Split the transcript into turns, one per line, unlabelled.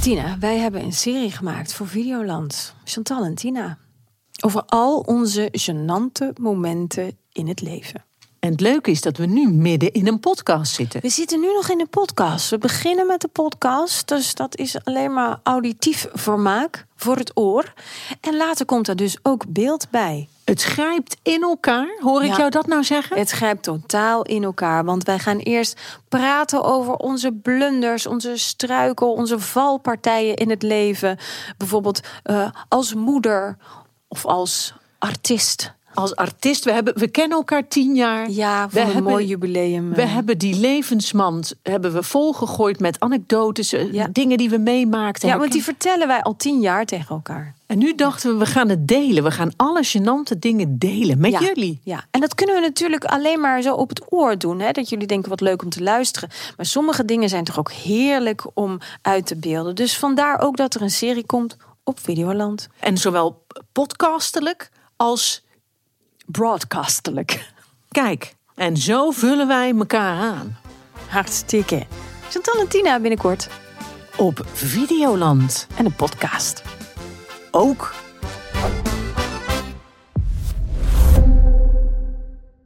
Tina, wij hebben een serie gemaakt voor Videoland. Chantal en Tina. Over al onze gênante momenten in het leven.
En het leuke is dat we nu midden in een podcast zitten.
We zitten nu nog in de podcast. We beginnen met de podcast. Dus dat is alleen maar auditief vermaak voor het oor. En later komt daar dus ook beeld bij.
Het grijpt in elkaar. Hoor ik
Ja.
jou dat nou zeggen?
Het grijpt totaal in elkaar. Want wij gaan eerst praten over onze blunders, onze struikel, onze valpartijen in het leven. Bijvoorbeeld eh, als moeder of als artiest.
Als artiest, we, hebben, we kennen elkaar tien jaar.
Ja,
we
voor een
hebben-
mooi jubileum.
We
eh.
hebben die levensmand hebben we volgegooid met anekdotes, eh,
Ja.
dingen die we meemaakten.
ja, want die vertellen wij al tien jaar tegen elkaar.
En nu dachten we, we gaan het delen. We gaan alle gênante dingen delen met
ja,
jullie.
Ja, en dat kunnen we natuurlijk alleen maar zo op het oor doen. Hè? Dat jullie denken wat leuk om te luisteren. Maar sommige dingen zijn toch ook heerlijk om uit te beelden. Dus vandaar ook dat er een serie komt op Videoland.
En zowel podcastelijk als
Broadcastelijk.
kijk. En zo vullen wij elkaar aan.
Hartstikke. Chantal en Tina binnenkort.
Op Videoland.
En een podcast.
Ook